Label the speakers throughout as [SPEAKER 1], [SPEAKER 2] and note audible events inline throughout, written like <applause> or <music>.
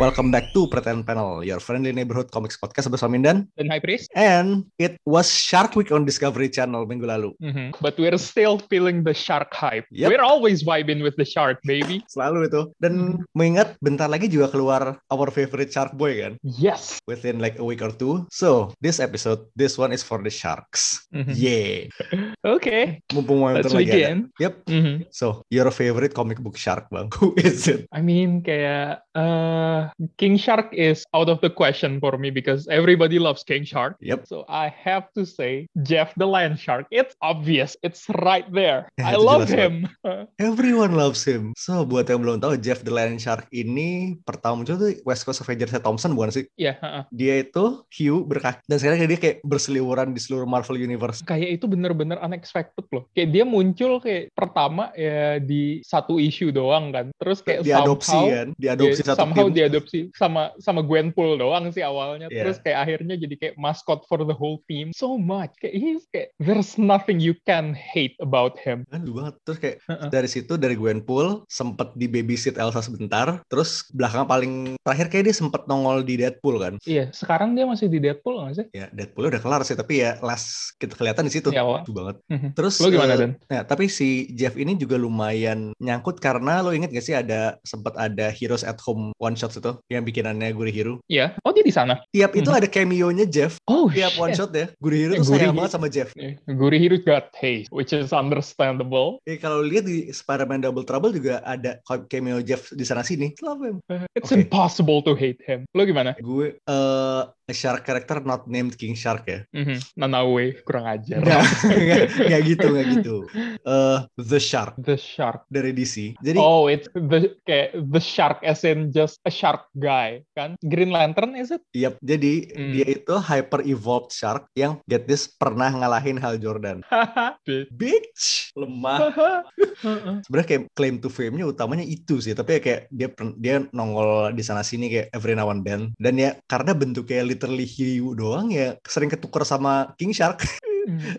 [SPEAKER 1] Welcome back to Pretend Panel, your friendly neighborhood comics podcast bersama Mindan.
[SPEAKER 2] dan High Priest.
[SPEAKER 1] And it was Shark Week on Discovery Channel minggu lalu.
[SPEAKER 2] But we're still feeling the shark hype.
[SPEAKER 1] Yep.
[SPEAKER 2] We're always vibing with the shark, baby.
[SPEAKER 1] Selalu itu. Dan mengingat bentar lagi juga keluar Our Favorite Shark Boy kan?
[SPEAKER 2] Yes.
[SPEAKER 1] within like a week or two. So this episode, this one is for the sharks.
[SPEAKER 2] Mhm.
[SPEAKER 1] Yeah,
[SPEAKER 2] Okay,
[SPEAKER 1] mumpung
[SPEAKER 2] let's
[SPEAKER 1] momentum lagi ada.
[SPEAKER 2] begin.
[SPEAKER 1] Yep.
[SPEAKER 2] Mhm.
[SPEAKER 1] So your favorite comic book shark, bang? <laughs> Who is it?
[SPEAKER 2] I mean, kayak uh, King Shark is out of the question for me because everybody loves King Shark.
[SPEAKER 1] Yep.
[SPEAKER 2] So I have to say Jeff the Land Shark. It's obvious. It's right there.
[SPEAKER 1] Yeah,
[SPEAKER 2] I
[SPEAKER 1] itu
[SPEAKER 2] love
[SPEAKER 1] jelas banget.
[SPEAKER 2] him. <laughs>
[SPEAKER 1] Everyone loves him. So buat yang belum tahu, Jeff the Lion Shark ini pertama muncul tuh West Coast Avenger Thompson bukan sih?
[SPEAKER 2] ya, heeh.
[SPEAKER 1] Dia itu hiu berkaki dan sekarang dia kayak berseliweran di seluruh Marvel Universe.
[SPEAKER 2] kayak itu bener-bener unexpected loh. Kayak dia muncul kayak pertama ya di satu isu doang kan. Terus kayak
[SPEAKER 1] Diadopsi
[SPEAKER 2] somehow-
[SPEAKER 1] kan? Diadopsi
[SPEAKER 2] Ya,
[SPEAKER 1] satu
[SPEAKER 2] somehow
[SPEAKER 1] tim. Iya.
[SPEAKER 2] diadopsi sama sama Gwenpool doang sih awalnya
[SPEAKER 1] Yeah.
[SPEAKER 2] terus kayak akhirnya jadi kayak mascot for the whole team so much kayak he's kayak there's nothing you can hate about him
[SPEAKER 1] Kan lucu banget. Terus kayak
[SPEAKER 2] Heeh.
[SPEAKER 1] dari situ dari Gwenpool sempet di babysit Elsa sebentar, terus belakang paling terakhir kayak dia sempet nongol di Deadpool kan.
[SPEAKER 2] iya sekarang dia masih di Deadpool nggak sih
[SPEAKER 1] Ya Deadpool udah kelar sih, tapi ya last kita kelihatan di situ.
[SPEAKER 2] Iya, Wak.
[SPEAKER 1] Lucu banget.
[SPEAKER 2] Mhm.
[SPEAKER 1] Terus
[SPEAKER 2] lo gimana
[SPEAKER 1] eh,
[SPEAKER 2] Dan?
[SPEAKER 1] Nah, tapi si Jeff ini juga lumayan nyangkut karena lo inget gak sih ada sempat ada Heroes at Home one shot itu yang bikinannya Guri Hero.
[SPEAKER 2] Iya, oh dia di sana.
[SPEAKER 1] Tiap itu
[SPEAKER 2] Mhm.
[SPEAKER 1] ada cameo-nya Jeff.
[SPEAKER 2] Oh
[SPEAKER 1] Tiap
[SPEAKER 2] shit.
[SPEAKER 1] one shot ya, Guri Hero
[SPEAKER 2] Eh,
[SPEAKER 1] tuh
[SPEAKER 2] Guri
[SPEAKER 1] sayang
[SPEAKER 2] Hero.
[SPEAKER 1] banget sama Jeff.
[SPEAKER 2] Iya, Gurihiro got taste, which is understandable.
[SPEAKER 1] Eh, kalau lihat di Spider-Man Double Trouble juga ada cameo Jeff di sana sini. Love him.
[SPEAKER 2] It's
[SPEAKER 1] Oke.
[SPEAKER 2] impossible to hate him. Lo gimana?
[SPEAKER 1] Gue eh a shark character not named King Shark ya.
[SPEAKER 2] Mhm. Nanawe, kurang ajar.
[SPEAKER 1] Nggak, nggak, nggak gitu, nggak gitu. Eh the Shark
[SPEAKER 2] The shark.
[SPEAKER 1] dari DC. Jadi
[SPEAKER 2] oh, it's the kayak the shark as in just a shark guy kan? Green Lantern is it?
[SPEAKER 1] Yap, jadi
[SPEAKER 2] Hmm.
[SPEAKER 1] dia itu hyper evolved shark yang get this pernah ngalahin Hal Jordan.
[SPEAKER 2] <laughs> Bitch.
[SPEAKER 1] Bitch, lemah. Sebenarnya kayak claim to fame-nya utamanya itu sih, tapi ya kayak dia per- dia nongol di sana sini kayak every now and then. Dan ya karena bentuknya literally hiu doang ya sering ketukar sama king shark. <laughs>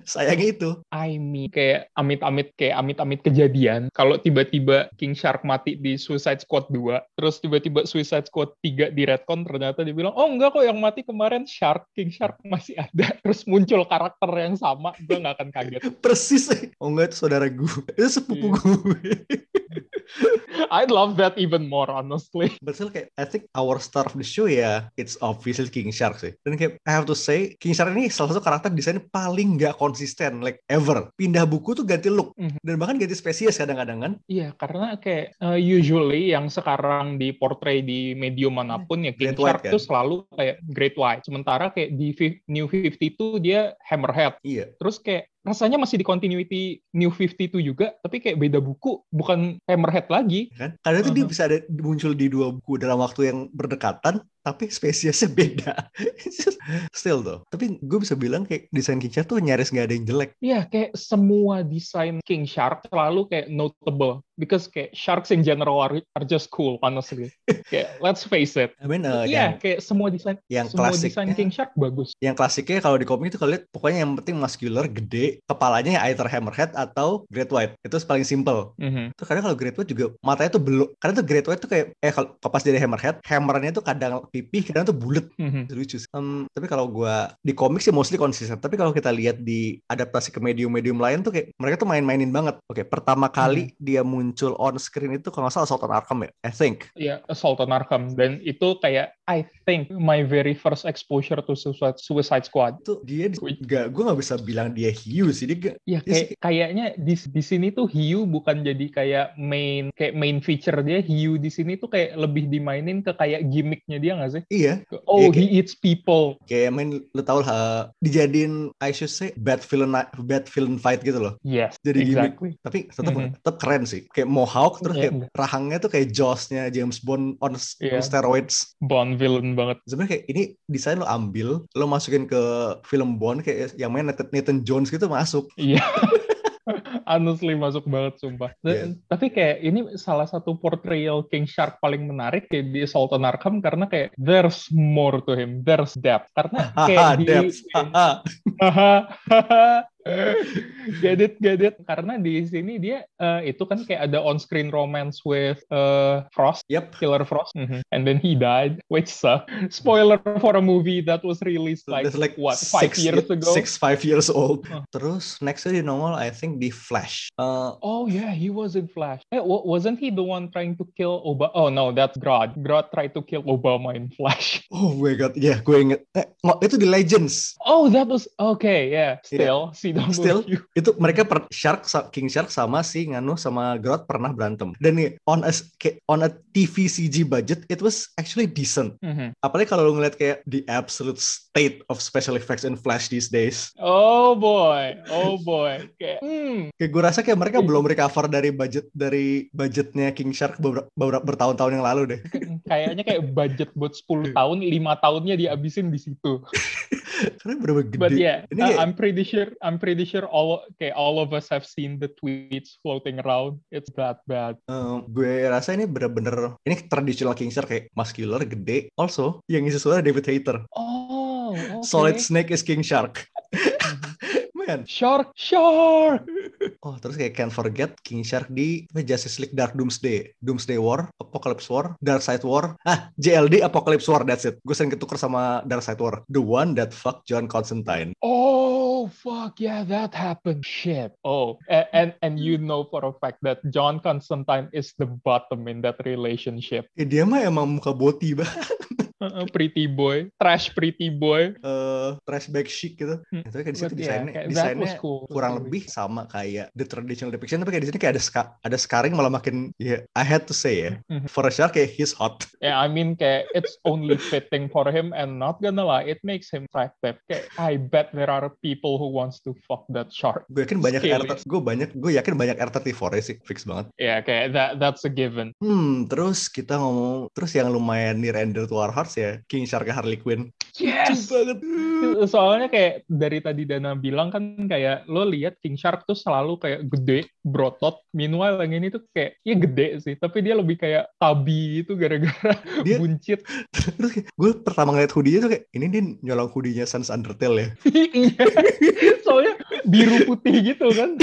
[SPEAKER 1] Sayangnya itu.
[SPEAKER 2] <laughs> I mean kayak amit-amit kayak amit-amit kejadian kalau tiba-tiba King Shark mati di Suicide Squad 2 terus tiba-tiba Suicide Squad 3 di Redcon ternyata dibilang oh enggak kok yang mati kemarin Shark King Shark masih ada <laughs> terus muncul karakter yang sama gue nggak akan <laughs> kaget
[SPEAKER 1] Persis. Oh enggak itu saudara gue. Itu sepupu
[SPEAKER 2] Hmm.
[SPEAKER 1] gue.
[SPEAKER 2] I love that even more honestly
[SPEAKER 1] Betul kayak I think our star of the show ya it's obviously King Shark sih. Dan kayak I have to say King Shark ini salah satu karakter desain paling nggak konsisten like ever. Pindah buku tuh ganti look
[SPEAKER 2] Mhm.
[SPEAKER 1] dan bahkan ganti spesies kadang-kadang kan.
[SPEAKER 2] iya karena kayak uh, usually yang sekarang di portray di medium manapun ya King
[SPEAKER 1] Iya. Great White, kan?
[SPEAKER 2] Shark tuh selalu kayak Great White sementara kayak di Fif- New 52 dia Hammerhead
[SPEAKER 1] Iya.
[SPEAKER 2] terus kayak rasanya masih di continuity New 52 juga tapi kayak beda buku bukan Hammerhead lagi
[SPEAKER 1] Kan? Kadang tuh dia
[SPEAKER 2] Mhm.
[SPEAKER 1] bisa ada muncul di dua buku dalam waktu yang berdekatan tapi spesiesnya <laughs> beda. It's just- Still tuh. Tapi gue bisa bilang kayak desain King Shark tuh nyaris nggak ada yang jelek.
[SPEAKER 2] Iya kayak semua desain King Shark selalu kayak notable because kayak sharks in general are, are just cool honestly kayak let's
[SPEAKER 1] <laughs>
[SPEAKER 2] face it
[SPEAKER 1] I mean
[SPEAKER 2] iya
[SPEAKER 1] uh,
[SPEAKER 2] kayak semua desain
[SPEAKER 1] yang yang
[SPEAKER 2] semua
[SPEAKER 1] klasik. ya.
[SPEAKER 2] desain King Shark bagus
[SPEAKER 1] yang klasiknya kalau di komik itu kalau lihat pokoknya yang penting muscular, gede, kepalanya ya either hammerhead atau great white. Itu paling simple.
[SPEAKER 2] Mhm.
[SPEAKER 1] Itu kadang kalau great white juga matanya tuh belok. Kadang tuh great white tuh kayak eh kalau pas jadi hammerhead, hammernya tuh kadang pipih, kadang tuh bulat.
[SPEAKER 2] Mhm.
[SPEAKER 1] Lucu sih. Em, tapi kalau gua di komik sih mostly konsisten. Tapi kalau kita lihat di adaptasi ke medium-medium lain tuh kayak mereka tuh main-mainin banget. Oke, pertama kali dia muncul on screen itu kalau nggak salah Assault on Arkham ya, I think.
[SPEAKER 2] Iya, Assault on Arkham. Dan itu kayak, I think, my very first exposure to Suicide, Suicide Squad.
[SPEAKER 1] Itu dia di-
[SPEAKER 2] Wih.
[SPEAKER 1] nggak, gue nggak bisa bilang dia hiu sih. Dia nggak- Iya
[SPEAKER 2] Ya,
[SPEAKER 1] sih.
[SPEAKER 2] kayak, kayaknya di, di sini tuh hiu bukan jadi kayak main kayak main feature dia. Hiu di sini tuh kayak lebih dimainin ke kayak gimmicknya dia nggak sih?
[SPEAKER 1] iya,
[SPEAKER 2] Ke, Oh,
[SPEAKER 1] Iya,
[SPEAKER 2] he eats people.
[SPEAKER 1] kayak I mean lu tau lah dijadiin I should say bad villain bad villain fight gitu loh
[SPEAKER 2] Yes,
[SPEAKER 1] Jadi gimmick.
[SPEAKER 2] exactly.
[SPEAKER 1] tapi tetap
[SPEAKER 2] Mhm.
[SPEAKER 1] tetap keren sih kayak mohawk terus
[SPEAKER 2] Iya,
[SPEAKER 1] kayak rahangnya tuh kayak Jaws-nya James Bond on, s- on
[SPEAKER 2] Iya.
[SPEAKER 1] steroids
[SPEAKER 2] Bond villain banget.
[SPEAKER 1] sebenarnya kayak ini desain lo ambil lo masukin ke film Bond kayak yang main Nathan, Nathan Jones gitu masuk
[SPEAKER 2] Iya. Honestly masuk banget sumpah. Dan- Tapi kayak ini salah satu portrayal King Shark paling menarik kayak di Sultan Arkham karena kayak there's more to him, there's depth.
[SPEAKER 1] <laughs>
[SPEAKER 2] Karena
[SPEAKER 1] Haha,
[SPEAKER 2] kayak di
[SPEAKER 1] depth. Haha.
[SPEAKER 2] Hahaha. <laughs> get it, get it. Karena di sini dia eh, itu kan kayak ada on-screen romance with eh, Frost,
[SPEAKER 1] Yep.
[SPEAKER 2] Killer Frost, Mhm. and then he died, which suck. Spoiler for a movie that was released like,
[SPEAKER 1] That's like
[SPEAKER 2] what five
[SPEAKER 1] six-
[SPEAKER 2] years ago.
[SPEAKER 1] Six five years old.
[SPEAKER 2] Huh.
[SPEAKER 1] Terus nextnya di nongol I think di Flash. Eh,
[SPEAKER 2] Oh yeah, he was in Flash. Eh, wa- wasn't he the one trying to kill Obama? Oh no, that's Grodd. Grodd tried to kill Obama in Flash. <laughs>
[SPEAKER 1] oh my god, ya gue inget. Eh, ngo- itu di Legends.
[SPEAKER 2] Oh, that was okay. Yeah, still CW. <laughs>
[SPEAKER 1] Still. Itu mereka per- Shark sa- King Shark sama si Nganu sama Grodd pernah berantem. Dan nih on a s- kayak on a TV CG budget it was actually decent.
[SPEAKER 2] Mhm.
[SPEAKER 1] Apalagi kalau lu ngeliat kayak the absolute state of special effects in Flash these days.
[SPEAKER 2] Oh boy, oh boy. Kayak, hmm,
[SPEAKER 1] Kayak gue rasa kayak mereka belum recover dari budget dari budgetnya King Shark beberapa, beberapa- bertahun-tahun yang lalu deh.
[SPEAKER 2] kayaknya kayak budget buat
[SPEAKER 1] Iya.
[SPEAKER 2] 10 tahun, 5 tahunnya dihabisin di situ.
[SPEAKER 1] Karena bener-bener gede.
[SPEAKER 2] But yeah,
[SPEAKER 1] Ini
[SPEAKER 2] I-
[SPEAKER 1] kayak-
[SPEAKER 2] I'm pretty sure I'm pretty sure all kayak all of us have seen the tweets floating around. It's that bad.
[SPEAKER 1] Eh, gue rasa ini bener-bener ini traditional King Shark kayak muscular gede also yang isi suara David Hayter
[SPEAKER 2] Oh, okay.
[SPEAKER 1] Solid Snake is King Shark man
[SPEAKER 2] Shark, shark.
[SPEAKER 1] oh terus kayak can't forget King Shark di apa, Justice League Dark Doomsday Doomsday War Apocalypse War Dark Side War ah JLD Apocalypse War that's it gue sering ketuker sama Dark Side War the one that fuck John Constantine
[SPEAKER 2] Oh fuck yeah, that happened. Shit. Oh, and, and and you know for a fact that John Constantine is the bottom in that relationship.
[SPEAKER 1] Eh, dia mah emang muka boti bah
[SPEAKER 2] Uh-uh, pretty boy, trash pretty boy.
[SPEAKER 1] <laughs> Eh, trash bag chic gitu
[SPEAKER 2] Hmm.
[SPEAKER 1] itu kayak di situ
[SPEAKER 2] But yeah,
[SPEAKER 1] desainnya
[SPEAKER 2] kayak that
[SPEAKER 1] desainnya
[SPEAKER 2] was cool.
[SPEAKER 1] kurang lebih sama kayak the traditional depiction tapi kayak di sini kayak ada ska- ada scarring malah makin ya I had to say ya
[SPEAKER 2] Mhm.
[SPEAKER 1] for a shark kayak he's hot
[SPEAKER 2] Yeah, I mean kayak it's only fitting for him and not gonna lie, it makes him attractive. Kayak I bet there are people who wants to fuck that shark.
[SPEAKER 1] gue yakin banyak
[SPEAKER 2] Scary.
[SPEAKER 1] R gue banyak gue yakin banyak R34 -nya sih fix banget
[SPEAKER 2] Yeah, kayak that that's a given.
[SPEAKER 1] hmm terus kita ngomong terus yang lumayan di render to our hearts ya King Shark ke Harley Quinn
[SPEAKER 2] Yes.
[SPEAKER 1] Cus banget
[SPEAKER 2] Soalnya kayak dari tadi Dana bilang kan kayak lo lihat King Shark tuh selalu kayak gede, berotot. Meanwhile yang ini tuh kayak ya gede sih, tapi dia lebih kayak tabi itu gara-gara <laughs>
[SPEAKER 1] Dia-
[SPEAKER 2] buncit.
[SPEAKER 1] terus kayak, gue pertama ngeliat hoodie-nya tuh kayak ini dia nyolong hoodie-nya Sans Undertale ya
[SPEAKER 2] Soalnya biru putih gitu kan.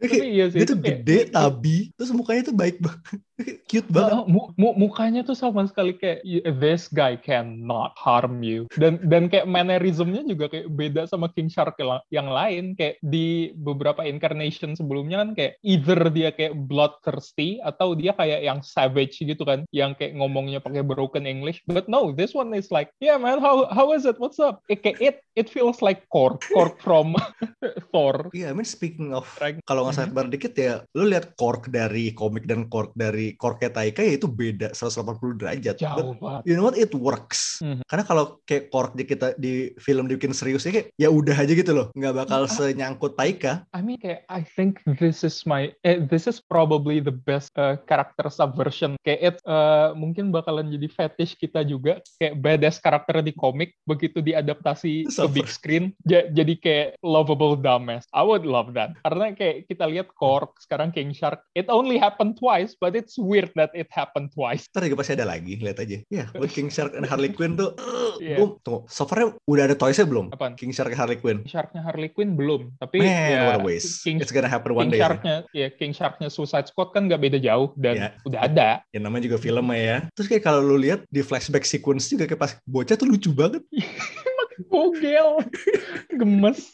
[SPEAKER 2] Tapi iya sih
[SPEAKER 1] dia tuh
[SPEAKER 2] itu kayak-
[SPEAKER 1] gede tabi terus mukanya tuh baik banget <laughs> cute banget
[SPEAKER 2] Uh, mu- mu- mukanya tuh sama sekali kayak "Y- this guy cannot harm you dan dan kayak mannerismnya juga kayak beda sama King Shark yang la- yang lain kayak di beberapa incarnation sebelumnya kan kayak either dia kayak bloodthirsty atau dia kayak yang savage gitu kan yang kayak ngomongnya pakai broken English but no this one is like yeah man how how is it what's up it kayak it it feels like Korg Korg from <laughs> Thor
[SPEAKER 1] Iya, I mean speaking of
[SPEAKER 2] Right.
[SPEAKER 1] kalau nggak
[SPEAKER 2] Mm-hmm.
[SPEAKER 1] sidebar dikit ya, lu lihat Kork dari komik dan Kork dari Korknya Taika ya itu beda 180 derajat. But
[SPEAKER 2] jauh banget
[SPEAKER 1] you know what it works.
[SPEAKER 2] Mhm.
[SPEAKER 1] Karena kalau kayak Kork di kita di film dibikin serius ya kayak ya udah aja gitu loh, nggak
[SPEAKER 2] Ah.
[SPEAKER 1] bakal senyangkut Taika.
[SPEAKER 2] I mean, kayak I think this is my, eh, this is probably the best uh, character subversion. Kayak it, uh, mungkin bakalan jadi fetish kita juga. Kayak badass karakter di komik begitu diadaptasi ke
[SPEAKER 1] Subver-
[SPEAKER 2] big screen, ja- jadi kayak lovable dumbass. I would love that. Karena kayak kita lihat Korg sekarang King Shark. It only happened twice, but it's weird that it happened twice.
[SPEAKER 1] Ntar juga pasti ada lagi, lihat aja. Ya, buat King Shark and Harley Quinn tuh, eh,
[SPEAKER 2] Iya.
[SPEAKER 1] gua- tunggu, softwarenya udah ada toys-nya belum?
[SPEAKER 2] Apaan?
[SPEAKER 1] King Shark and Harley Quinn.
[SPEAKER 2] Sharknya Harley Quinn belum, tapi
[SPEAKER 1] Man,
[SPEAKER 2] ya,
[SPEAKER 1] what a waste.
[SPEAKER 2] King,
[SPEAKER 1] It's gonna happen one
[SPEAKER 2] King
[SPEAKER 1] day.
[SPEAKER 2] Sharknya, ya King Sharknya Suicide Squad kan nggak beda jauh dan
[SPEAKER 1] Iya.
[SPEAKER 2] udah ada.
[SPEAKER 1] Ya namanya juga film ya. Terus kayak kalau lu lihat di flashback sequence juga kayak pas bocah tuh lucu banget.
[SPEAKER 2] Bogel, gemes.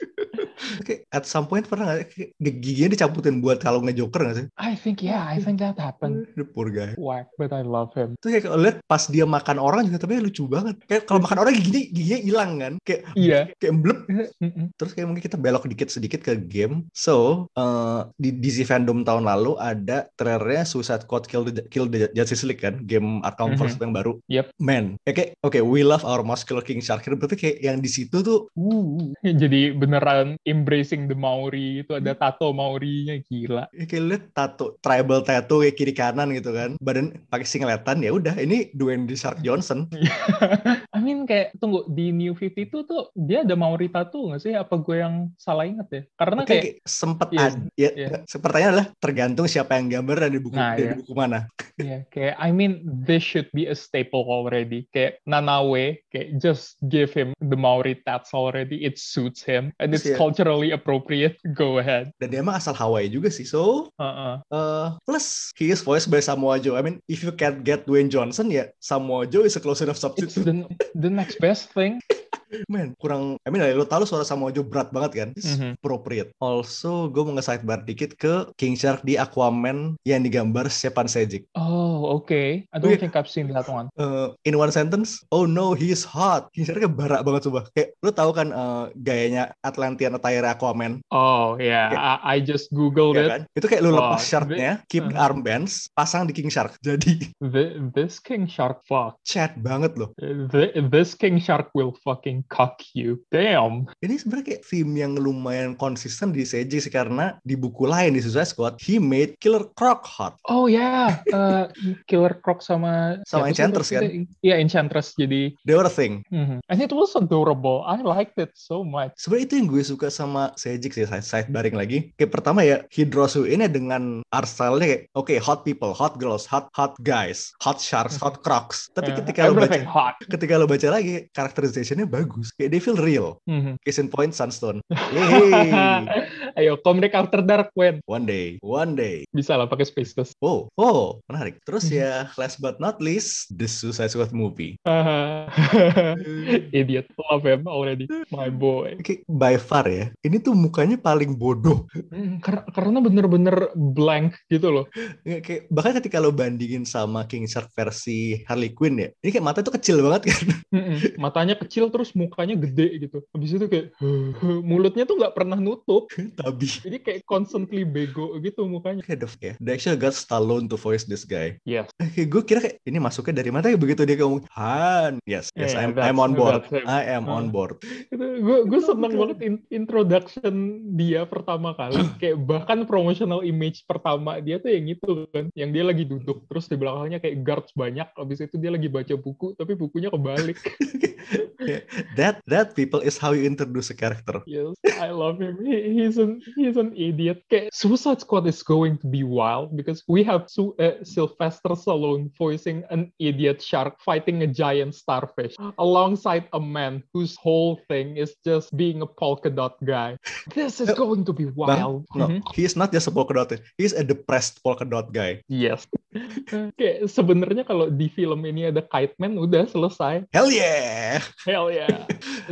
[SPEAKER 1] Oke, at some point pernah nggak sih, kayak giginya dicabutin buat kalau ngejoker nggak sih?
[SPEAKER 2] I think yeah, I think that happened.
[SPEAKER 1] The poor guy.
[SPEAKER 2] Whack, but I love him.
[SPEAKER 1] Terus kayak kalau lihat pas dia makan orang juga tapi lucu banget. Kayak kalau makan orang giginya giginya hilang kan? Kayak
[SPEAKER 2] Iya.
[SPEAKER 1] kayak blep.
[SPEAKER 2] Mm-mm.
[SPEAKER 1] Terus kayak mungkin kita belok dikit sedikit ke game. So, eh, di DC fandom tahun lalu ada trailernya Suicide Squad Kill the, Kill the Justice League kan, game Arkham
[SPEAKER 2] Mhm.
[SPEAKER 1] First yang baru.
[SPEAKER 2] Yep.
[SPEAKER 1] Man, kayak kayak, oke, we love our muscular king shark. Berarti kayak yang di situ tuh
[SPEAKER 2] Uh. Jadi beneran embracing the Maori itu ada tato Maorinya gila.
[SPEAKER 1] Ya, kayak lihat tato tribal tato kayak kiri kanan gitu kan badan pakai singletan ya udah ini Dwayne The Shark Johnson
[SPEAKER 2] I mean kayak tunggu di New 50 tuh tuh dia ada Maurita tuh nggak sih? Apa gue yang salah inget ya? Karena
[SPEAKER 1] Oke,
[SPEAKER 2] kayak
[SPEAKER 1] oke, sempet
[SPEAKER 2] Iya,
[SPEAKER 1] ada. Ya,
[SPEAKER 2] iya.
[SPEAKER 1] se- Pertanyaan adalah tergantung siapa yang gambar dan di buku
[SPEAKER 2] Nah,
[SPEAKER 1] dari
[SPEAKER 2] iya.
[SPEAKER 1] buku mana.
[SPEAKER 2] Yeah, kayak I mean this should be a staple already. Kayak Nanawe, kayak just give him the Maori tats already. It suits him and it's
[SPEAKER 1] Iya.
[SPEAKER 2] culturally appropriate. Go ahead.
[SPEAKER 1] Dan dia emang asal Hawaii juga sih. So,
[SPEAKER 2] Uh-uh.
[SPEAKER 1] uh, plus he is voiced by Samoa Joe. I mean, if you can't get Dwayne Johnson ya, Samoa Joe is a close enough
[SPEAKER 2] It's <laughs>
[SPEAKER 1] substitute.
[SPEAKER 2] the the next best <laughs> thing.
[SPEAKER 1] Man, kurang I mean lo tau lo suara Samoa Joe berat banget kan? It's
[SPEAKER 2] Mhm.
[SPEAKER 1] appropriate. Also, gue mau nge-sidebar dikit ke King Shark di Aquaman yang digambar Stepan Sejic.
[SPEAKER 2] Oh, okay. I don't
[SPEAKER 1] Iya.
[SPEAKER 2] think I've seen that one.
[SPEAKER 1] Uh, in one sentence, oh no, he's hot. King Sharknya barak banget coba. Kayak lo tau kan uh, gayanya Atlantean attire Aquaman,
[SPEAKER 2] Oh, yeah. I, I just
[SPEAKER 1] ya
[SPEAKER 2] googled it.
[SPEAKER 1] kan? Itu kayak lo
[SPEAKER 2] Wow.
[SPEAKER 1] lepas shirtnya, keep the
[SPEAKER 2] Mhm.
[SPEAKER 1] armbands, pasang di King Shark. Jadi <laughs>
[SPEAKER 2] Th- this king shark fuck.
[SPEAKER 1] chat banget loh.
[SPEAKER 2] Th- this king shark will fucking cuck you. Damn.
[SPEAKER 1] Ini sebenarnya kayak theme yang lumayan konsisten di Sejic sih karena di buku lain di Suicide Squad, he made Killer Croc hot.
[SPEAKER 2] Oh ya, eh, Killer Croc sama
[SPEAKER 1] Sama
[SPEAKER 2] siapa sih
[SPEAKER 1] Enchantress, kan?
[SPEAKER 2] maksudnya? Iya Enchantress jadi.
[SPEAKER 1] They were a thing.
[SPEAKER 2] mhm. And it was adorable. I liked it so much.
[SPEAKER 1] sebenarnya itu yang gue suka sama Sejik sih side, side baring lagi kayak pertama ya Hidrosu ini dengan art style-nya kayak oke hot people hot girls hot hot guys hot sharks hot crocs tapi
[SPEAKER 2] Eh,
[SPEAKER 1] ketika lo
[SPEAKER 2] everything
[SPEAKER 1] baca
[SPEAKER 2] hot.
[SPEAKER 1] ketika lo baca lagi characterization-nya bagus kayak they feel real
[SPEAKER 2] Mhm.
[SPEAKER 1] case in point sunstone hey
[SPEAKER 2] <laughs> Ayo, Comrade After Dark Wen
[SPEAKER 1] one day one day
[SPEAKER 2] bisa lah pakai space dust. <laughs>
[SPEAKER 1] wow wow menarik terus ya last but not least the Suicide Squad movie
[SPEAKER 2] Idiot, love him already, my boy.
[SPEAKER 1] Oke, by far ya. Ini tuh mukanya paling bodoh
[SPEAKER 2] Mhm, kar- karena bener-bener blank gitu loh.
[SPEAKER 1] Nggak, kayak, bahkan ketika lo bandingin sama King Shark versi Harley Quinn ya, ini kayak mata tuh kecil banget kan. <laughs>
[SPEAKER 2] Mhm, <laughs> Matanya kecil terus mukanya gede gitu. Habis itu kayak mulutnya tuh nggak pernah nutup.
[SPEAKER 1] Tapi
[SPEAKER 2] Jadi kayak constantly bego gitu mukanya.
[SPEAKER 1] kayak the- ya. They actually got Stallone to voice this guy. Eh,
[SPEAKER 2] Yes.
[SPEAKER 1] Kayak gue kira kayak ini masuknya dari mana ya begitu dia ngomong Han. Yes, yes,
[SPEAKER 2] Yeah,
[SPEAKER 1] I'm,
[SPEAKER 2] that's-
[SPEAKER 1] I'm on board.
[SPEAKER 2] that's him.
[SPEAKER 1] I am on
[SPEAKER 2] Hmm.
[SPEAKER 1] board. <laughs>
[SPEAKER 2] itu gue gue seneng
[SPEAKER 1] Betul.
[SPEAKER 2] banget in- introduction dia pertama kali kayak bahkan promotional image pertama dia tuh yang itu kan yang dia lagi duduk terus di belakangnya kayak guards banyak abis itu dia lagi baca buku tapi bukunya kebalik
[SPEAKER 1] That that people is how you introduce a character.
[SPEAKER 2] yes I love him He- he's an he's an idiot kayak Suicide Squad is going to be wild because we have Su eh, Sylvester Stallone voicing an idiot shark fighting a giant starfish alongside a man whose whole thing is just being a polka dot guy this is going to be wild
[SPEAKER 1] Nah, No,
[SPEAKER 2] Mhm.
[SPEAKER 1] he is not just a polka dot. He is a depressed polka dot guy.
[SPEAKER 2] Yes. Kayak sebenarnya kalau di film ini ada Kite Man udah selesai.
[SPEAKER 1] Hell yeah.
[SPEAKER 2] Hell
[SPEAKER 1] <laughs>
[SPEAKER 2] yeah.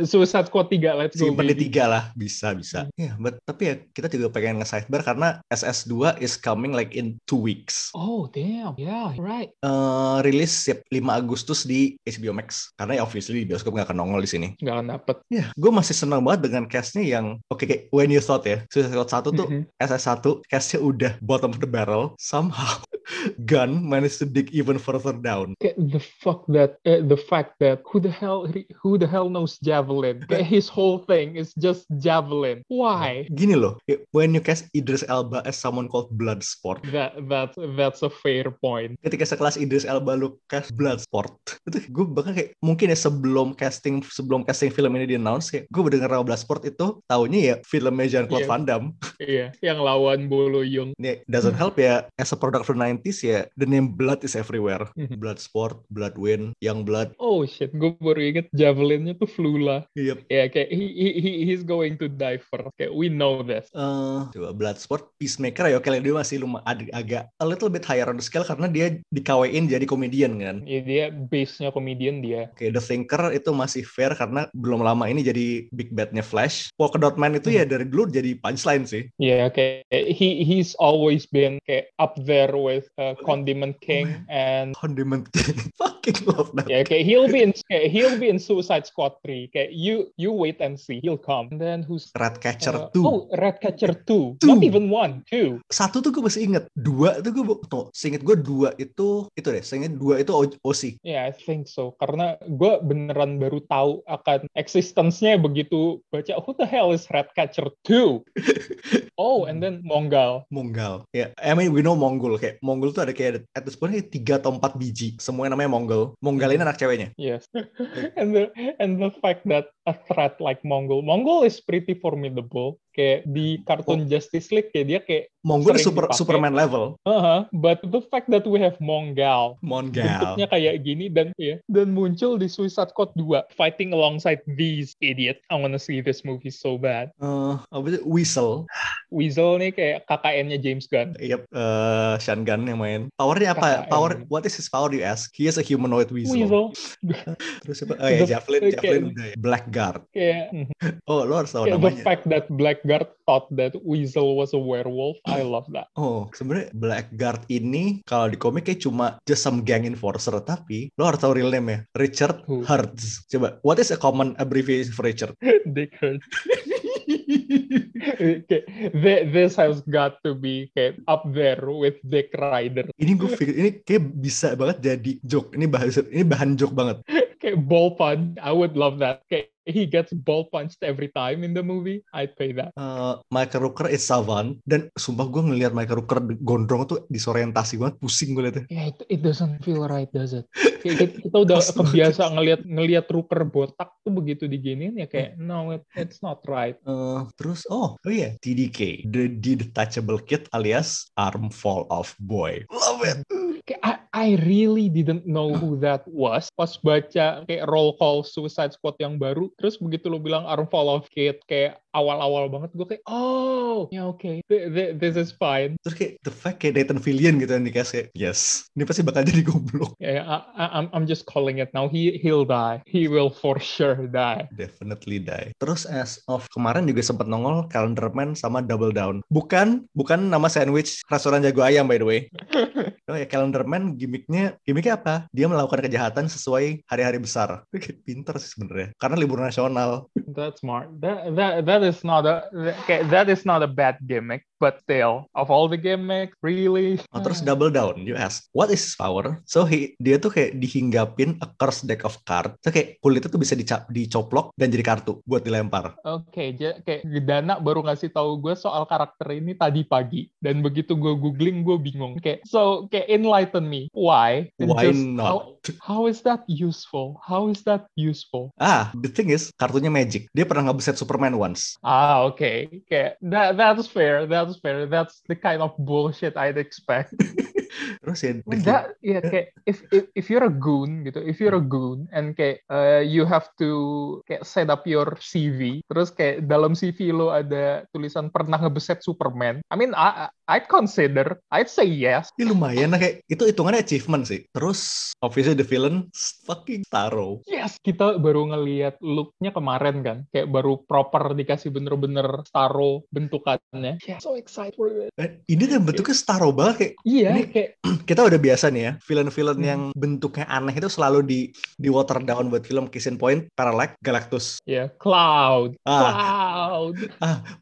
[SPEAKER 2] Suicide Squad 3 let's go.
[SPEAKER 1] Simpen di
[SPEAKER 2] baby.
[SPEAKER 1] tiga lah, bisa bisa. Ya, but- tapi ya kita juga pengen nge-sidebar karena SS2 is coming like in two weeks.
[SPEAKER 2] Oh damn. Yeah, right.
[SPEAKER 1] eh rilis siap 5 Agustus di HBO Max karena ya obviously di bioskop nggak akan nongol di sini.
[SPEAKER 2] Gak akan dapet.
[SPEAKER 1] Ya, gue masih senang banget dengan castnya yang oke kayak When You Thought ya. Suicide Squad 1 tuh
[SPEAKER 2] Mhm.
[SPEAKER 1] SS1 castnya udah bottom of the barrel somehow <laughs> gun managed to dig even further down.
[SPEAKER 2] Kayak Eh, the fuck that eh, the fact that who the hell who the hell knows javelin? Kayak his whole thing is just javelin. Why?
[SPEAKER 1] Nah, Gini loh, kayak when you cast Idris Elba as someone called Bloodsport,
[SPEAKER 2] That that's that's a fair point.
[SPEAKER 1] ketika sekelas Idris Elba lu cast Bloodsport itu gue bahkan kayak mungkin ya sebelum casting sebelum casting film ini di announce kayak gue mendengar nama Bloodsport itu tahunya ya filmnya Jean-Claude
[SPEAKER 2] Iya.
[SPEAKER 1] Van Damme
[SPEAKER 2] Iya, yang lawan Bolo Yung.
[SPEAKER 1] Ini doesn't help ya as a product from 90s ya the name blood is everywhere
[SPEAKER 2] Mhm.
[SPEAKER 1] Bloodsport Bloodwind Young Blood
[SPEAKER 2] Oh shit, gue baru inget javelinnya tuh Flula.
[SPEAKER 1] yep.
[SPEAKER 2] Yeah, kayak he, he, he he's going to die first. Kayak we know this.
[SPEAKER 1] Eh, coba Bloodsport Peacemaker ya oke lah, dia masih lumayan ag- agak a little bit higher on the scale karena dia dikawin jadi komedian kan
[SPEAKER 2] Ya, dia base-nya komedian dia.
[SPEAKER 1] Oke, The Thinker itu masih fair karena belum lama ini jadi big bad-nya Flash. Polkadot Man itu ya
[SPEAKER 2] Hmm.
[SPEAKER 1] dari dulu jadi punchline sih.
[SPEAKER 2] Ya kayak he he's always been kayak up there with uh, Condiment King and
[SPEAKER 1] <laughs> Condiment King. Fucking love that.
[SPEAKER 2] ya kayak he'll be in kayak he'll be in Suicide Squad 3. Kayak you you wait and see he'll come. And then who's
[SPEAKER 1] Ratcatcher
[SPEAKER 2] uh,
[SPEAKER 1] 2.
[SPEAKER 2] Oh, Ratcatcher 2.
[SPEAKER 1] Two.
[SPEAKER 2] Not even one, two.
[SPEAKER 1] Satu tuh gue masih inget. Dua tuh gue... Tuh, seinget gue dua itu... Itu deh, seinget dua itu O- OC.
[SPEAKER 2] Ya, I think so. Karena gue beneran baru tahu akan existence-nya begitu baca Who the hell is Ratcatcher 2? oh, and then Mongol.
[SPEAKER 1] Mongol. Ya, I mean we know Mongol. Kayak Mongol Mongol tuh ada kayak at this point kayak tiga atau empat biji semuanya namanya Mongol Mongol ini
[SPEAKER 2] Hmm.
[SPEAKER 1] anak ceweknya
[SPEAKER 2] Yes. and the and the fact that a threat like Mongol, Mongol is pretty formidable. Kayak di kartun Justice League kayak dia kayak,
[SPEAKER 1] Mongol
[SPEAKER 2] Sering
[SPEAKER 1] super
[SPEAKER 2] dipakai.
[SPEAKER 1] Superman level
[SPEAKER 2] "Haha," but the fact that we have Mongol
[SPEAKER 1] Mongol
[SPEAKER 2] <laughs> bentuknya kayak gini dan ya dan muncul di Suicide Squad 2 fighting alongside these idiot. I wanna see this movie so bad.
[SPEAKER 1] Eh, apa sih Whistle
[SPEAKER 2] Weasel nih kayak KKN-nya James Gunn.
[SPEAKER 1] yep eh, Sean Gunn yang main powernya apa
[SPEAKER 2] KKN.
[SPEAKER 1] power what is his power you ask he is a humanoid weasel,
[SPEAKER 2] eh. Weasel
[SPEAKER 1] terus apa oh ya
[SPEAKER 2] The-
[SPEAKER 1] Javelin
[SPEAKER 2] kayak-
[SPEAKER 1] Javelin udah ya. Blackguard
[SPEAKER 2] kayak mhm.
[SPEAKER 1] oh lo harus tahu
[SPEAKER 2] Kayak the
[SPEAKER 1] namanya
[SPEAKER 2] fact that Blackguard thought that Weasel was a werewolf, I love that.
[SPEAKER 1] Oh, sebenarnya Blackguard ini kalau di komik kayak cuma just some gang enforcer, tapi lo harus tahu real name ya, Richard
[SPEAKER 2] Who?
[SPEAKER 1] Hertz. Coba, what is a common abbreviation for
[SPEAKER 2] <laughs>
[SPEAKER 1] Richard?
[SPEAKER 2] Dickhead. Kayak, thi- this has got to be kayak up there with Dick Rider.
[SPEAKER 1] ini gue pikir ini kayak bisa banget jadi joke. Ini bahasa ini bahan joke banget.
[SPEAKER 2] Kayak ball punch, I would love that. Kayak he gets ball punched every time in the movie, I'd pay that.
[SPEAKER 1] Eh, Michael Rooker is Savan dan sumpah gue ngelihat Michael Rooker gondrong tuh disorientasi banget, pusing gue liatnya.
[SPEAKER 2] Yeah, Ya, it, it doesn't feel right, does it? Kayak kita, kita udah
[SPEAKER 1] Astaga.
[SPEAKER 2] kebiasa ngelihat ngelihat Rooker botak tuh begitu diginiin ya kayak no it, it's not right.
[SPEAKER 1] Eh, terus oh oh iya TDK the detachable kid alias arm fall off boy love it
[SPEAKER 2] Kayak, I, I really didn't know who that was. Pas baca kayak roll call Suicide Squad yang baru, terus begitu lo bilang Arm Fall of Kid, kayak awal-awal banget gue kayak, oh, ya oke, Th- th- this is fine.
[SPEAKER 1] Terus kayak the fact kayak Nathan Fillion gitu yang dikasih kayak, yes. Ini pasti bakal jadi goblok.
[SPEAKER 2] Yeah, I, I- I'm, I'm just calling it now. He he'll die. He will for sure die.
[SPEAKER 1] Definitely die. Terus as of kemarin juga sempat nongol Calendar Man sama Double Down. Bukan bukan nama sandwich restoran jago ayam by
[SPEAKER 2] <laughs>
[SPEAKER 1] the way. Oh ya Calendar Man gimmicknya gimmicknya apa? Dia melakukan kejahatan sesuai hari-hari besar. Itu kayak pinter sih sebenarnya. Karena libur nasional.
[SPEAKER 2] That's smart. That that that is not a that, okay, that is not a bad gimmick, but still, of all the gimmicks, really.
[SPEAKER 1] Oh, terus Double Down, you ask, what is his power? So he, dia tuh kayak dihinggapin a cursed deck of cards. So kayak kulitnya tuh bisa dicap, dicoplok dan jadi kartu buat dilempar.
[SPEAKER 2] Oke, ja- kayak Dana baru ngasih tahu gue soal karakter ini tadi pagi, dan begitu gue googling gue bingung. Kayak so, kayak enlighten me, why? And
[SPEAKER 1] Why
[SPEAKER 2] just
[SPEAKER 1] not?
[SPEAKER 2] How, how is that useful? How is that useful?
[SPEAKER 1] Ah, the thing is, kartunya Magic. Dia pernah ngebeset Superman once.
[SPEAKER 2] Ah, oke, kayak that that's fair, that's fair, that's the kind of bullshit I'd expect.
[SPEAKER 1] Terus ya,
[SPEAKER 2] Well, That <laughs> yeah, iya, kayak if, if if you're a goon gitu, if you're a goon and kayak uh, you have to kayak set up your CV, terus kayak dalam CV lo ada tulisan pernah ngebeset Superman. I mean, I I'd consider, I'd say yes.
[SPEAKER 1] ini lumayan lah kayak itu hitungannya achievement sih. Terus obviously the villain fucking Taro.
[SPEAKER 2] Yes, kita baru ngelihat looknya kemarin kan, kayak baru proper dikasih bener-bener taro bentukannya. Yeah, so excited for it.
[SPEAKER 1] Eh, Ini tuh bentuknya Taro banget kayak <clears throat>
[SPEAKER 2] Iya,
[SPEAKER 1] Ini-
[SPEAKER 2] kayak
[SPEAKER 1] kita udah biasa nih ya villain-villain
[SPEAKER 2] Hmm.
[SPEAKER 1] yang bentuknya aneh itu selalu di di water down buat film Kiss in Point, Parallax, Galactus,
[SPEAKER 2] ya cloud,
[SPEAKER 1] ah,
[SPEAKER 2] cloud.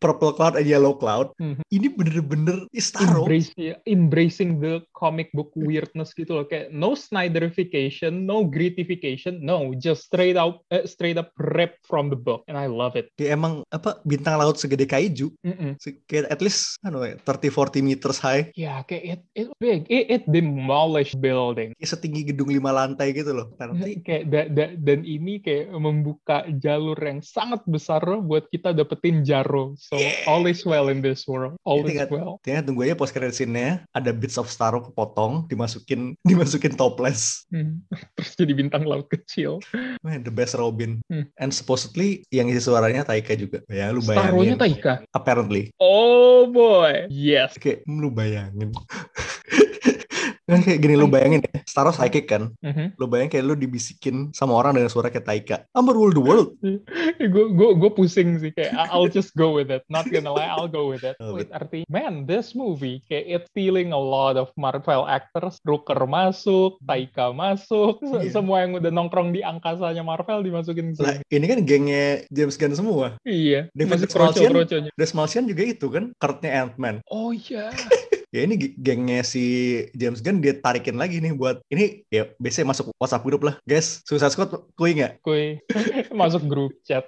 [SPEAKER 1] Purple Cloud and Yellow Cloud.
[SPEAKER 2] Mhm.
[SPEAKER 1] Ini bener-bener is Taro.
[SPEAKER 2] embracing embracing the comic book weirdness gitu loh kayak no Snyderification, no gritification, no just straight out eh, straight up ripped from the book and I love it.
[SPEAKER 1] Dia emang apa bintang laut segede kaiju,
[SPEAKER 2] Mm-mm.
[SPEAKER 1] Se- kayak at least anu, 30-40 meters high,
[SPEAKER 2] Yeah, Ya, kayak it it big, it, it demolished building.
[SPEAKER 1] kayak setinggi gedung lima lantai gitu loh. Nanti
[SPEAKER 2] Kayak da- da- dan ini kayak membuka jalur yang sangat besar buat kita dapetin Jaro. So
[SPEAKER 1] Yeah.
[SPEAKER 2] all is well in this world. All
[SPEAKER 1] Jadi
[SPEAKER 2] is
[SPEAKER 1] kan-
[SPEAKER 2] well.
[SPEAKER 1] Tinggal tunggu aja post credit scene-nya ada bits of Starro kepotong dimasukin <laughs> dimasukin topless.
[SPEAKER 2] Hmm. <laughs> Terus jadi bintang laut kecil.
[SPEAKER 1] Man, the best Robin.
[SPEAKER 2] Hmm.
[SPEAKER 1] And supposedly yang isi suaranya Taika juga. Ya lu
[SPEAKER 2] Taruhnya
[SPEAKER 1] bayangin.
[SPEAKER 2] Taika.
[SPEAKER 1] Apparently.
[SPEAKER 2] Oh boy. Yes.
[SPEAKER 1] Kayak hmm, lu bayangin. <laughs> kan kayak gini lu bayangin ya. Starro psychic kan.
[SPEAKER 2] Mhm.
[SPEAKER 1] Lu bayangin kayak lu dibisikin sama orang dengan suara kayak Taika. I'm gonna rule the world.
[SPEAKER 2] <laughs> gue gue gue pusing sih kayak I- I'll just go with it not gonna lie I'll go with
[SPEAKER 1] <laughs>
[SPEAKER 2] it
[SPEAKER 1] Oh,
[SPEAKER 2] Wait, arti man this movie kayak it's stealing a lot of Marvel actors Rooker masuk Taika masuk se-
[SPEAKER 1] Iya.
[SPEAKER 2] semua yang udah nongkrong di angkasanya Marvel dimasukin ke
[SPEAKER 1] Lah,
[SPEAKER 2] sini
[SPEAKER 1] ini kan gengnya James Gunn semua.
[SPEAKER 2] iya
[SPEAKER 1] David
[SPEAKER 2] masih
[SPEAKER 1] Sebastian.
[SPEAKER 2] kroco kroconya
[SPEAKER 1] The Malsian juga itu kan, kartnya Ant-Man.
[SPEAKER 2] oh iya
[SPEAKER 1] ya ini g- gengnya si James Gunn dia tarikin lagi nih buat ini ya biasanya masuk WhatsApp grup lah guys Suicide Squad kui nggak
[SPEAKER 2] Kuy, <laughs> masuk grup chat.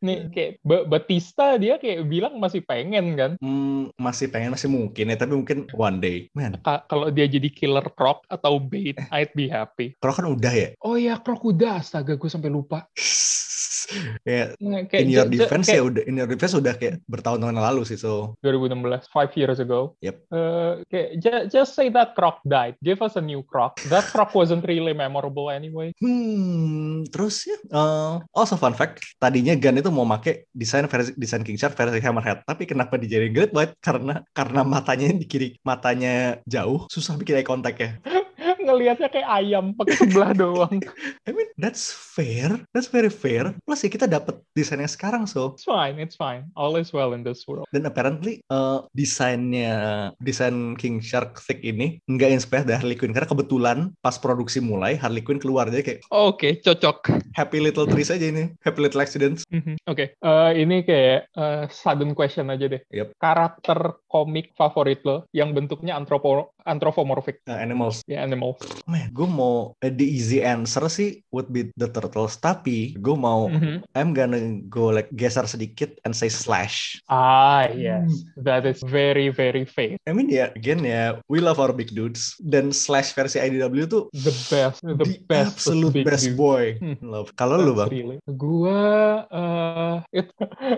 [SPEAKER 2] Nih kayak Ba- Batista dia kayak bilang masih pengen kan.
[SPEAKER 1] Hmm, masih pengen masih mungkin ya tapi mungkin one day man
[SPEAKER 2] Ka- Kalau dia jadi killer Croc atau Bait, I'd be happy.
[SPEAKER 1] kalau kan udah ya <laughs>
[SPEAKER 2] Oh ya Croc udah, astaga gue sampai lupa.
[SPEAKER 1] ya
[SPEAKER 2] Nah, kayak
[SPEAKER 1] in your
[SPEAKER 2] ja- ja-
[SPEAKER 1] defense
[SPEAKER 2] kayak
[SPEAKER 1] ya udah in your defense udah kayak bertahun-tahun yang lalu sih so
[SPEAKER 2] 2016, five years ago.
[SPEAKER 1] Yep.
[SPEAKER 2] Uh, kayak ju- just say that Croc died. Give us a new Croc. That Croc wasn't really memorable anyway. <laughs>
[SPEAKER 1] hmm terus ya eh, also fun fact tadinya Gun itu mau make desain versi desain King Shark versi Hammerhead tapi kenapa dijadiin Great White karena karena matanya di kiri matanya jauh susah bikin eye contact ya
[SPEAKER 2] Ngelihatnya kayak ayam pakai sebelah <laughs> doang.
[SPEAKER 1] I mean that's fair that's very fair plus ya kita dapet desainnya sekarang so
[SPEAKER 2] It's fine, it's fine. All is well in this world.
[SPEAKER 1] dan apparently eh, desainnya desain King Shark Thick ini nggak inspire dari Harley Quinn karena kebetulan pas produksi mulai Harley Quinn keluar jadi kayak
[SPEAKER 2] Oke, cocok.
[SPEAKER 1] happy little trees aja ini happy little accidents
[SPEAKER 2] Mhm. Oke, Eh, ini kayak eh, sudden question aja deh.
[SPEAKER 1] Yep.
[SPEAKER 2] Karakter komik favorit lo yang bentuknya antropo anthropomorphic,
[SPEAKER 1] uh, animals
[SPEAKER 2] ya animal.
[SPEAKER 1] man gue mau eh, the easy answer sih would be the turtles tapi gue mau
[SPEAKER 2] Mhm.
[SPEAKER 1] I'm gonna go like geser sedikit and say slash
[SPEAKER 2] Ah, yes.
[SPEAKER 1] Hmm.
[SPEAKER 2] That is very, very fake.
[SPEAKER 1] I mean ya again ya we love our big dudes dan slash versi IDW tuh
[SPEAKER 2] The best, the, best.
[SPEAKER 1] absolute
[SPEAKER 2] big
[SPEAKER 1] best
[SPEAKER 2] dude.
[SPEAKER 1] boy
[SPEAKER 2] Hmm.
[SPEAKER 1] love kalau lu bang
[SPEAKER 2] Really. Gua, eh, <laughs> it-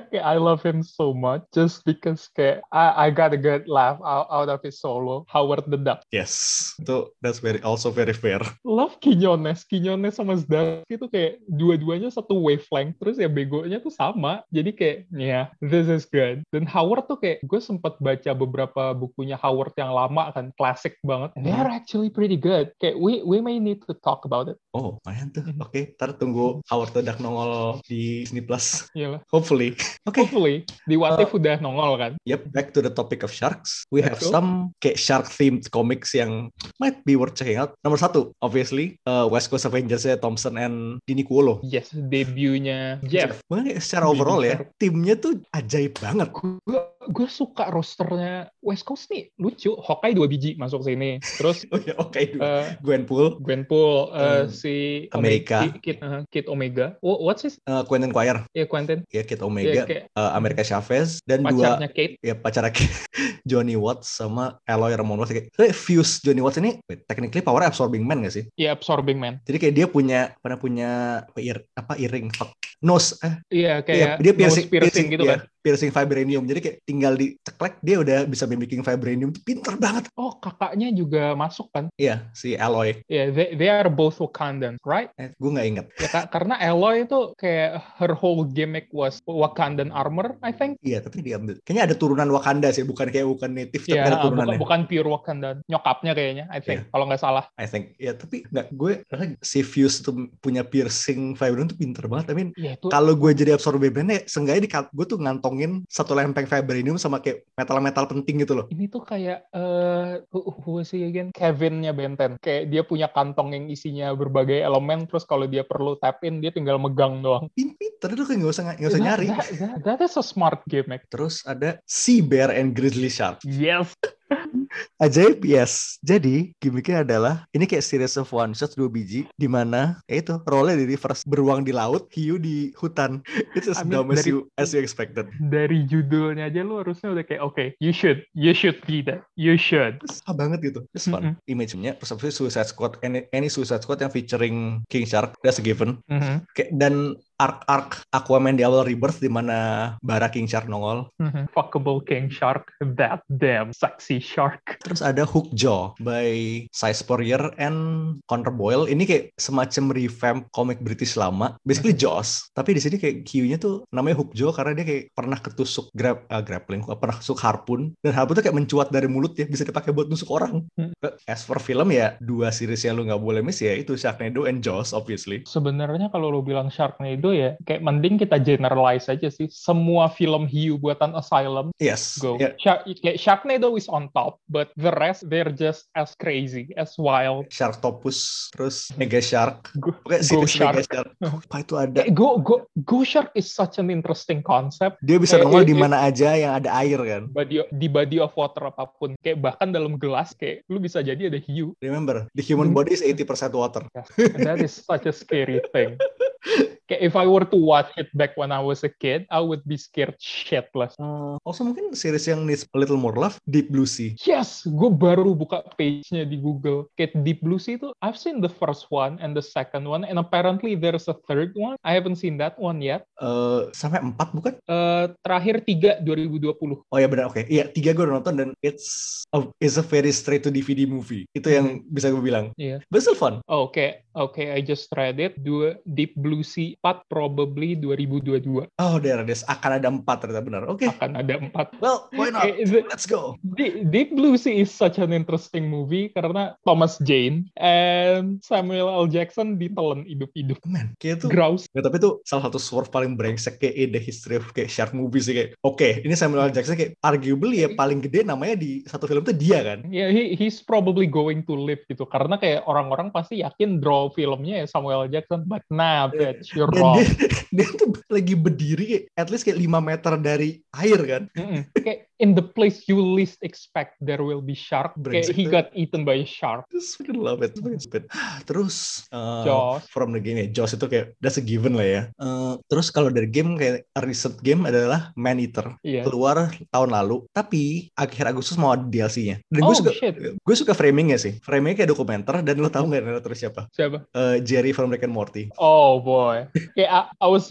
[SPEAKER 2] kayak I love him so much just because kayak I, I got a good laugh out, out of his solo. Howard the Duck.
[SPEAKER 1] yes itu that's very also very fair
[SPEAKER 2] Love Quiñones, Quiñones sama Zdarsky itu kayak dua-duanya satu wavelength, terus ya begonya tuh sama, jadi kayak ya this is good. Dan Howard tuh kayak gue sempat baca beberapa bukunya Howard yang lama kan, klasik banget. They're actually pretty good. Kayak we we may need to talk about it.
[SPEAKER 1] Oh, lumayan tuh.
[SPEAKER 2] Mhm.
[SPEAKER 1] Oke, ntar tunggu Howard the Duck nongol di Disney Plus. <laughs>
[SPEAKER 2] Iyalah.
[SPEAKER 1] Hopefully. Oke, Eh.
[SPEAKER 2] Ya Hopefully di What If udah nongol kan.
[SPEAKER 1] yep, back to the topic of sharks. We have
[SPEAKER 2] Let's go.
[SPEAKER 1] some kayak shark themed comics yang might be worth checking out. Nomor satu, obviously, uh, West Coast Avengers ya Thompson and Dini Kuolo.
[SPEAKER 2] Yes, debutnya Jeff.
[SPEAKER 1] Makanya secara overall ya, timnya tuh ajaib banget. <laughs>
[SPEAKER 2] Gue gue suka rosternya West Coast nih, lucu. Hawkeye dua biji masuk sini.
[SPEAKER 1] <laughs>
[SPEAKER 2] Terus
[SPEAKER 1] Oh ya, oke. dulu.
[SPEAKER 2] eh,
[SPEAKER 1] Gwenpool,
[SPEAKER 2] Gwenpool, eh,
[SPEAKER 1] Hmm.
[SPEAKER 2] si
[SPEAKER 1] Amerika.
[SPEAKER 2] Omega- Kid, Kid- uh, Kid Omega. Wha- what's his?
[SPEAKER 1] uh, Quentin Quire,
[SPEAKER 2] Ya Quentin.
[SPEAKER 1] ya Kid
[SPEAKER 2] Ya,
[SPEAKER 1] Omega,
[SPEAKER 2] kayak
[SPEAKER 1] uh, America Chavez, dan dua
[SPEAKER 2] pacarnya Kate.
[SPEAKER 1] ya pacara <laughs> Johnny Watts sama Eloy Ramon Watts. Kayak, eh, Fuse Johnny Watts ini wait, technically power absorbing man gak sih?
[SPEAKER 2] Ya Absorbing Man.
[SPEAKER 1] Jadi kayak dia punya pernah punya apa, ear- apa earring fuck nose eh
[SPEAKER 2] Iya kayak
[SPEAKER 1] iya, dia
[SPEAKER 2] nose
[SPEAKER 1] piercing,
[SPEAKER 2] piercing,
[SPEAKER 1] piercing,
[SPEAKER 2] gitu
[SPEAKER 1] iya,
[SPEAKER 2] kan.
[SPEAKER 1] piercing vibranium. Jadi kayak tinggal diceklek dia udah bisa mimicking vibranium. Pinter banget.
[SPEAKER 2] Oh kakaknya juga masuk kan?
[SPEAKER 1] Iya, si Eloy.
[SPEAKER 2] Ya they, they are both Wakandan, right?
[SPEAKER 1] Eh, gue nggak inget.
[SPEAKER 2] Ya, Kak, karena Eloy itu kayak her whole gimmick was Wakandan armor, I think.
[SPEAKER 1] Iya, tapi diambil. Kayaknya ada turunan Wakanda sih, bukan kayak bukan native, tapi
[SPEAKER 2] Ya
[SPEAKER 1] ada Iya. turunannya.
[SPEAKER 2] bukan, bukan pure Wakandan. Nyokapnya kayaknya, I think. Kalau nggak salah.
[SPEAKER 1] I think. Ya, tapi nggak gue rasa si Fuse tuh punya piercing vibranium tuh pinter banget. I mean,
[SPEAKER 2] Ya itu
[SPEAKER 1] kalau gue jadi absorber band ya seenggaknya di gue tuh ngantongin satu lempeng vibranium sama kayak metal-metal penting gitu loh
[SPEAKER 2] ini tuh kayak eh who, who was he again? Kevinnya Benten. Kayak dia punya kantong yang isinya berbagai elemen terus kalau dia perlu tap in dia tinggal megang doang.
[SPEAKER 1] Pin- pinter itu kayak nggak usah nggak usah
[SPEAKER 2] That-
[SPEAKER 1] nyari
[SPEAKER 2] That, that- that is a smart gimmick.
[SPEAKER 1] terus ada sea bear and grizzly shark
[SPEAKER 2] Yes.
[SPEAKER 1] ajaib yes jadi gimmicknya adalah ini kayak series of one shot dua biji di mana ya itu role di reverse beruang di laut hiu di hutan <laughs> it's as
[SPEAKER 2] I mean,
[SPEAKER 1] dumb as
[SPEAKER 2] dari-
[SPEAKER 1] you as you expected
[SPEAKER 2] Dari judulnya aja lu harusnya udah kayak oke, you should, you should be that. You should.
[SPEAKER 1] susah banget gitu it's fun image-nya terus habis itu Suicide Squad any, any Suicide Squad yang featuring King Shark that's a given
[SPEAKER 2] Mhm,
[SPEAKER 1] Kayak- dan arc-arc Aquaman di awal Rebirth di mana Bara King Shark nongol.
[SPEAKER 2] mhm. Fuckable king shark, that damn sexy shark.
[SPEAKER 1] Terus ada Hook Jaw by Cy Spurrier and Connor Boyle. Ini kayak semacam revamp komik British lama. Basically
[SPEAKER 2] Hmm.
[SPEAKER 1] Jaws. Tapi di sini kayak Q-nya tuh namanya Hook Jaw karena dia kayak pernah ketusuk grab, ah, grappling, pernah ketusuk harpun. Dan harpun tuh kayak mencuat dari mulut ya. Bisa dipakai buat nusuk orang.
[SPEAKER 2] Hmm.
[SPEAKER 1] As for film ya, dua series yang lu nggak boleh miss ya itu Sharknado and Jaws obviously.
[SPEAKER 2] Sebenarnya kalau lu bilang Sharknado Shadow ya kayak mending kita generalize aja sih semua film hiu buatan Asylum
[SPEAKER 1] Yes.
[SPEAKER 2] go
[SPEAKER 1] Ya,
[SPEAKER 2] Shark, kayak Sharknado is on top but the rest they're just as crazy as wild
[SPEAKER 1] Sharktopus, terus Mega Shark.
[SPEAKER 2] Go-
[SPEAKER 1] Oke, series
[SPEAKER 2] Shark. Eh,
[SPEAKER 1] Mega
[SPEAKER 2] <laughs>
[SPEAKER 1] Shark. Apa itu ada?
[SPEAKER 2] Kayak Go Go Go Shark is such an interesting concept
[SPEAKER 1] Dia bisa
[SPEAKER 2] Kayak-
[SPEAKER 1] nongol
[SPEAKER 2] kayak-
[SPEAKER 1] di mana aja yang ada air kan.
[SPEAKER 2] body di body of water apapun kayak bahkan dalam gelas kayak lu bisa jadi ada hiu
[SPEAKER 1] Remember, the human
[SPEAKER 2] Hmm.
[SPEAKER 1] body is 80% water.
[SPEAKER 2] Yeah, that is such a scary thing. Kayak If I were to watch it back when I was a kid, I would be scared shitless.
[SPEAKER 1] Also mungkin series yang needs a little more love, Deep Blue Sea.
[SPEAKER 2] Yes, gue baru buka page-nya di Google. Kayak Deep Blue Sea itu, I've seen the first one and the second one, and apparently there's a third one. I haven't seen that one yet.
[SPEAKER 1] Eh, sampai 4 bukan?
[SPEAKER 2] Eh, terakhir 3 2020.
[SPEAKER 1] Oh ya benar, oke. Iya, tiga gue udah nonton dan it's a, it's a very straight to DVD movie. Itu yang bisa gue bilang.
[SPEAKER 2] Iya.
[SPEAKER 1] But still fun.
[SPEAKER 2] Oh, Oke, oke, I just read it. Dua Deep Blue Sea 4 probably 2022
[SPEAKER 1] Oh, there it is. Akan ada empat ternyata benar. Oke.
[SPEAKER 2] akan ada 4.
[SPEAKER 1] Well, why not?
[SPEAKER 2] eh.
[SPEAKER 1] Let's go.
[SPEAKER 2] Deep, Deep Blue Sea is such an interesting movie karena Thomas Jane and Samuel L. Jackson ditelan hidup-hidup.
[SPEAKER 1] Man, kayak tuh
[SPEAKER 2] Grouse.
[SPEAKER 1] Ya, tapi itu salah satu swerve paling brengsek kayak in the history of kayak shark movie sih kayak. Oke, ini Samuel L. Jackson kayak arguably ya paling gede namanya di satu film tuh dia kan.
[SPEAKER 2] Ya, he- he's probably going to live gitu karena kayak orang-orang pasti yakin draw filmnya ya Samuel L. Jackson, but nah, bitch, you're
[SPEAKER 1] Dan
[SPEAKER 2] wrong.
[SPEAKER 1] dia, <laughs> dia tuh lagi berdiri kayak at least kayak 5 meter dari air kan.
[SPEAKER 2] Mm-mm. Kayak in the place you least expect there will be shark. Kayak
[SPEAKER 1] Brengsek
[SPEAKER 2] he
[SPEAKER 1] tuh.
[SPEAKER 2] got eaten by a shark.
[SPEAKER 1] Terus fucking love it, fucking stupid. Terus uh,
[SPEAKER 2] Jaws.
[SPEAKER 1] from the game ya, Jaws itu kayak that's a given lah ya. Uh, terus kalau dari game kayak recent game adalah Man Eater
[SPEAKER 2] Iya.
[SPEAKER 1] keluar tahun lalu, tapi akhir Agustus mau ada DLC-nya. Dan gue
[SPEAKER 2] Oh
[SPEAKER 1] suka
[SPEAKER 2] shit.
[SPEAKER 1] gue suka framingnya sih, framingnya kayak dokumenter dan lo tau nggak terus siapa?
[SPEAKER 2] Siapa?
[SPEAKER 1] Uh, Jerry from Rick and Morty.
[SPEAKER 2] Oh boy. Kayak I, I was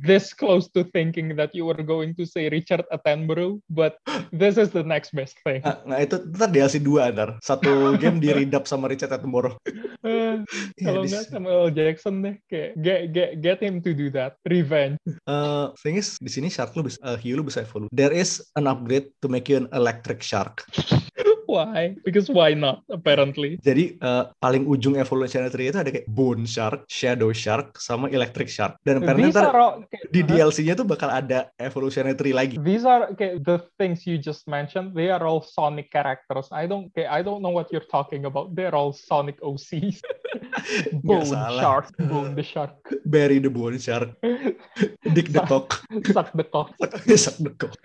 [SPEAKER 2] this close to thinking that you were going to say Richard Attenborough, but this is the next best
[SPEAKER 1] <laughs>
[SPEAKER 2] thing.
[SPEAKER 1] Nah, nah itu ntar DLC 2 ntar.
[SPEAKER 2] <laughs>
[SPEAKER 1] Satu game di read sama Richard Attenborough.
[SPEAKER 2] Eh,
[SPEAKER 1] Ya,
[SPEAKER 2] Kalau
[SPEAKER 1] this-
[SPEAKER 2] nggak Samuel L. Jackson deh, kayak get, get, get him to do that. Revenge. <laughs>
[SPEAKER 1] Eh, thing is, di sini shark lu bisa, eh, hiu lu bisa evolve. There is an upgrade to make you an electric shark.
[SPEAKER 2] Why? Because why not? Apparently.
[SPEAKER 1] Jadi eh, paling ujung evolution tree itu ada kayak bone shark, shadow shark, sama electric shark. Dan apparently
[SPEAKER 2] These
[SPEAKER 1] ntar
[SPEAKER 2] are all, kayak-
[SPEAKER 1] di DLC-nya tuh bakal ada evolutionary tree lagi.
[SPEAKER 2] These are kayak, the things you just mentioned. They are all Sonic characters. I don't kayak, I don't know what you're talking about. They're all Sonic
[SPEAKER 1] <laughs>
[SPEAKER 2] OCs. Bone
[SPEAKER 1] salah.
[SPEAKER 2] Shark, Bone the Shark, <laughs>
[SPEAKER 1] Bury the bone shark, dig the cock, <laughs>
[SPEAKER 2] Suck the Cock.
[SPEAKER 1] suck the cock.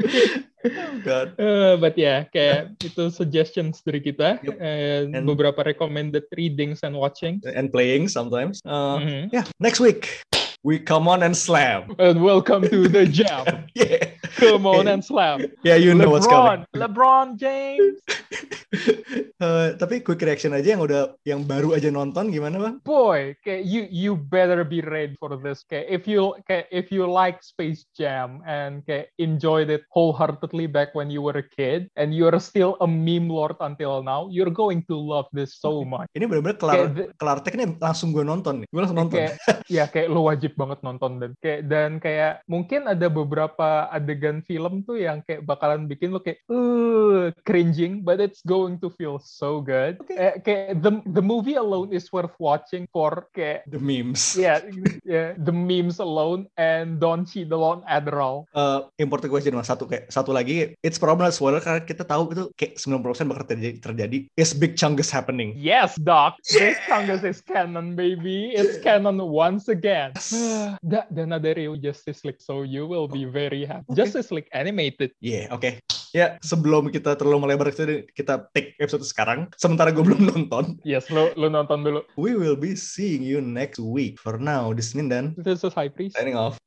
[SPEAKER 1] Oh, God.
[SPEAKER 2] Eh, but ya, kayak itu suggestions dari kita,
[SPEAKER 1] Yep.
[SPEAKER 2] and
[SPEAKER 1] And-
[SPEAKER 2] beberapa recommended readings and watching.
[SPEAKER 1] And playing sometimes. Eh,
[SPEAKER 2] Mhm.
[SPEAKER 1] yeah, next week we come on and slam.
[SPEAKER 2] And welcome to the
[SPEAKER 1] <laughs>
[SPEAKER 2] jam.
[SPEAKER 1] Yeah,
[SPEAKER 2] Come on and slam.
[SPEAKER 1] yeah, you know what's coming.
[SPEAKER 2] LeBron, LeBron James.
[SPEAKER 1] <laughs> Eh, tapi quick reaction aja yang udah yang baru aja nonton gimana bang?
[SPEAKER 2] Boy, kayak you you better be ready for this. Kayak if you kayak if you like Space Jam and kayak enjoyed it wholeheartedly back when you were a kid and you're still a meme lord until now, you're going to love this so much.
[SPEAKER 1] Ini bener-bener kelar
[SPEAKER 2] Kayak the-
[SPEAKER 1] kelar tag ini langsung gue nonton nih. Gue langsung nonton.
[SPEAKER 2] kayak ya kayak lo wajib banget nonton dan kayak dan kayak mungkin ada beberapa adegan film tuh yang kayak bakalan bikin lo kayak uh cringing but it's going to feel so good
[SPEAKER 1] Oke.
[SPEAKER 2] Eh, kayak the the movie alone is worth watching for kayak
[SPEAKER 1] The memes.
[SPEAKER 2] yeah yeah the memes alone and Don Cheadle on Adderall
[SPEAKER 1] Eh, important question mas satu kayak satu lagi it's probably not spoiler karena kita tahu itu kayak 90% bakal terjadi, terjadi is big chungus happening
[SPEAKER 2] yes doc this Congress is canon baby it's canon once again <sighs> Da- dan ada Ryu Justice League so you will be very happy
[SPEAKER 1] Oke.
[SPEAKER 2] Justice League animated
[SPEAKER 1] yeah oke ya sebelum kita terlalu melebar kita kita take episode sekarang sementara gue belum <laughs> nonton
[SPEAKER 2] Yes, lo, lo nonton dulu.
[SPEAKER 1] we will be seeing you next week for now this Mindan
[SPEAKER 2] This is High Priest.
[SPEAKER 1] signing off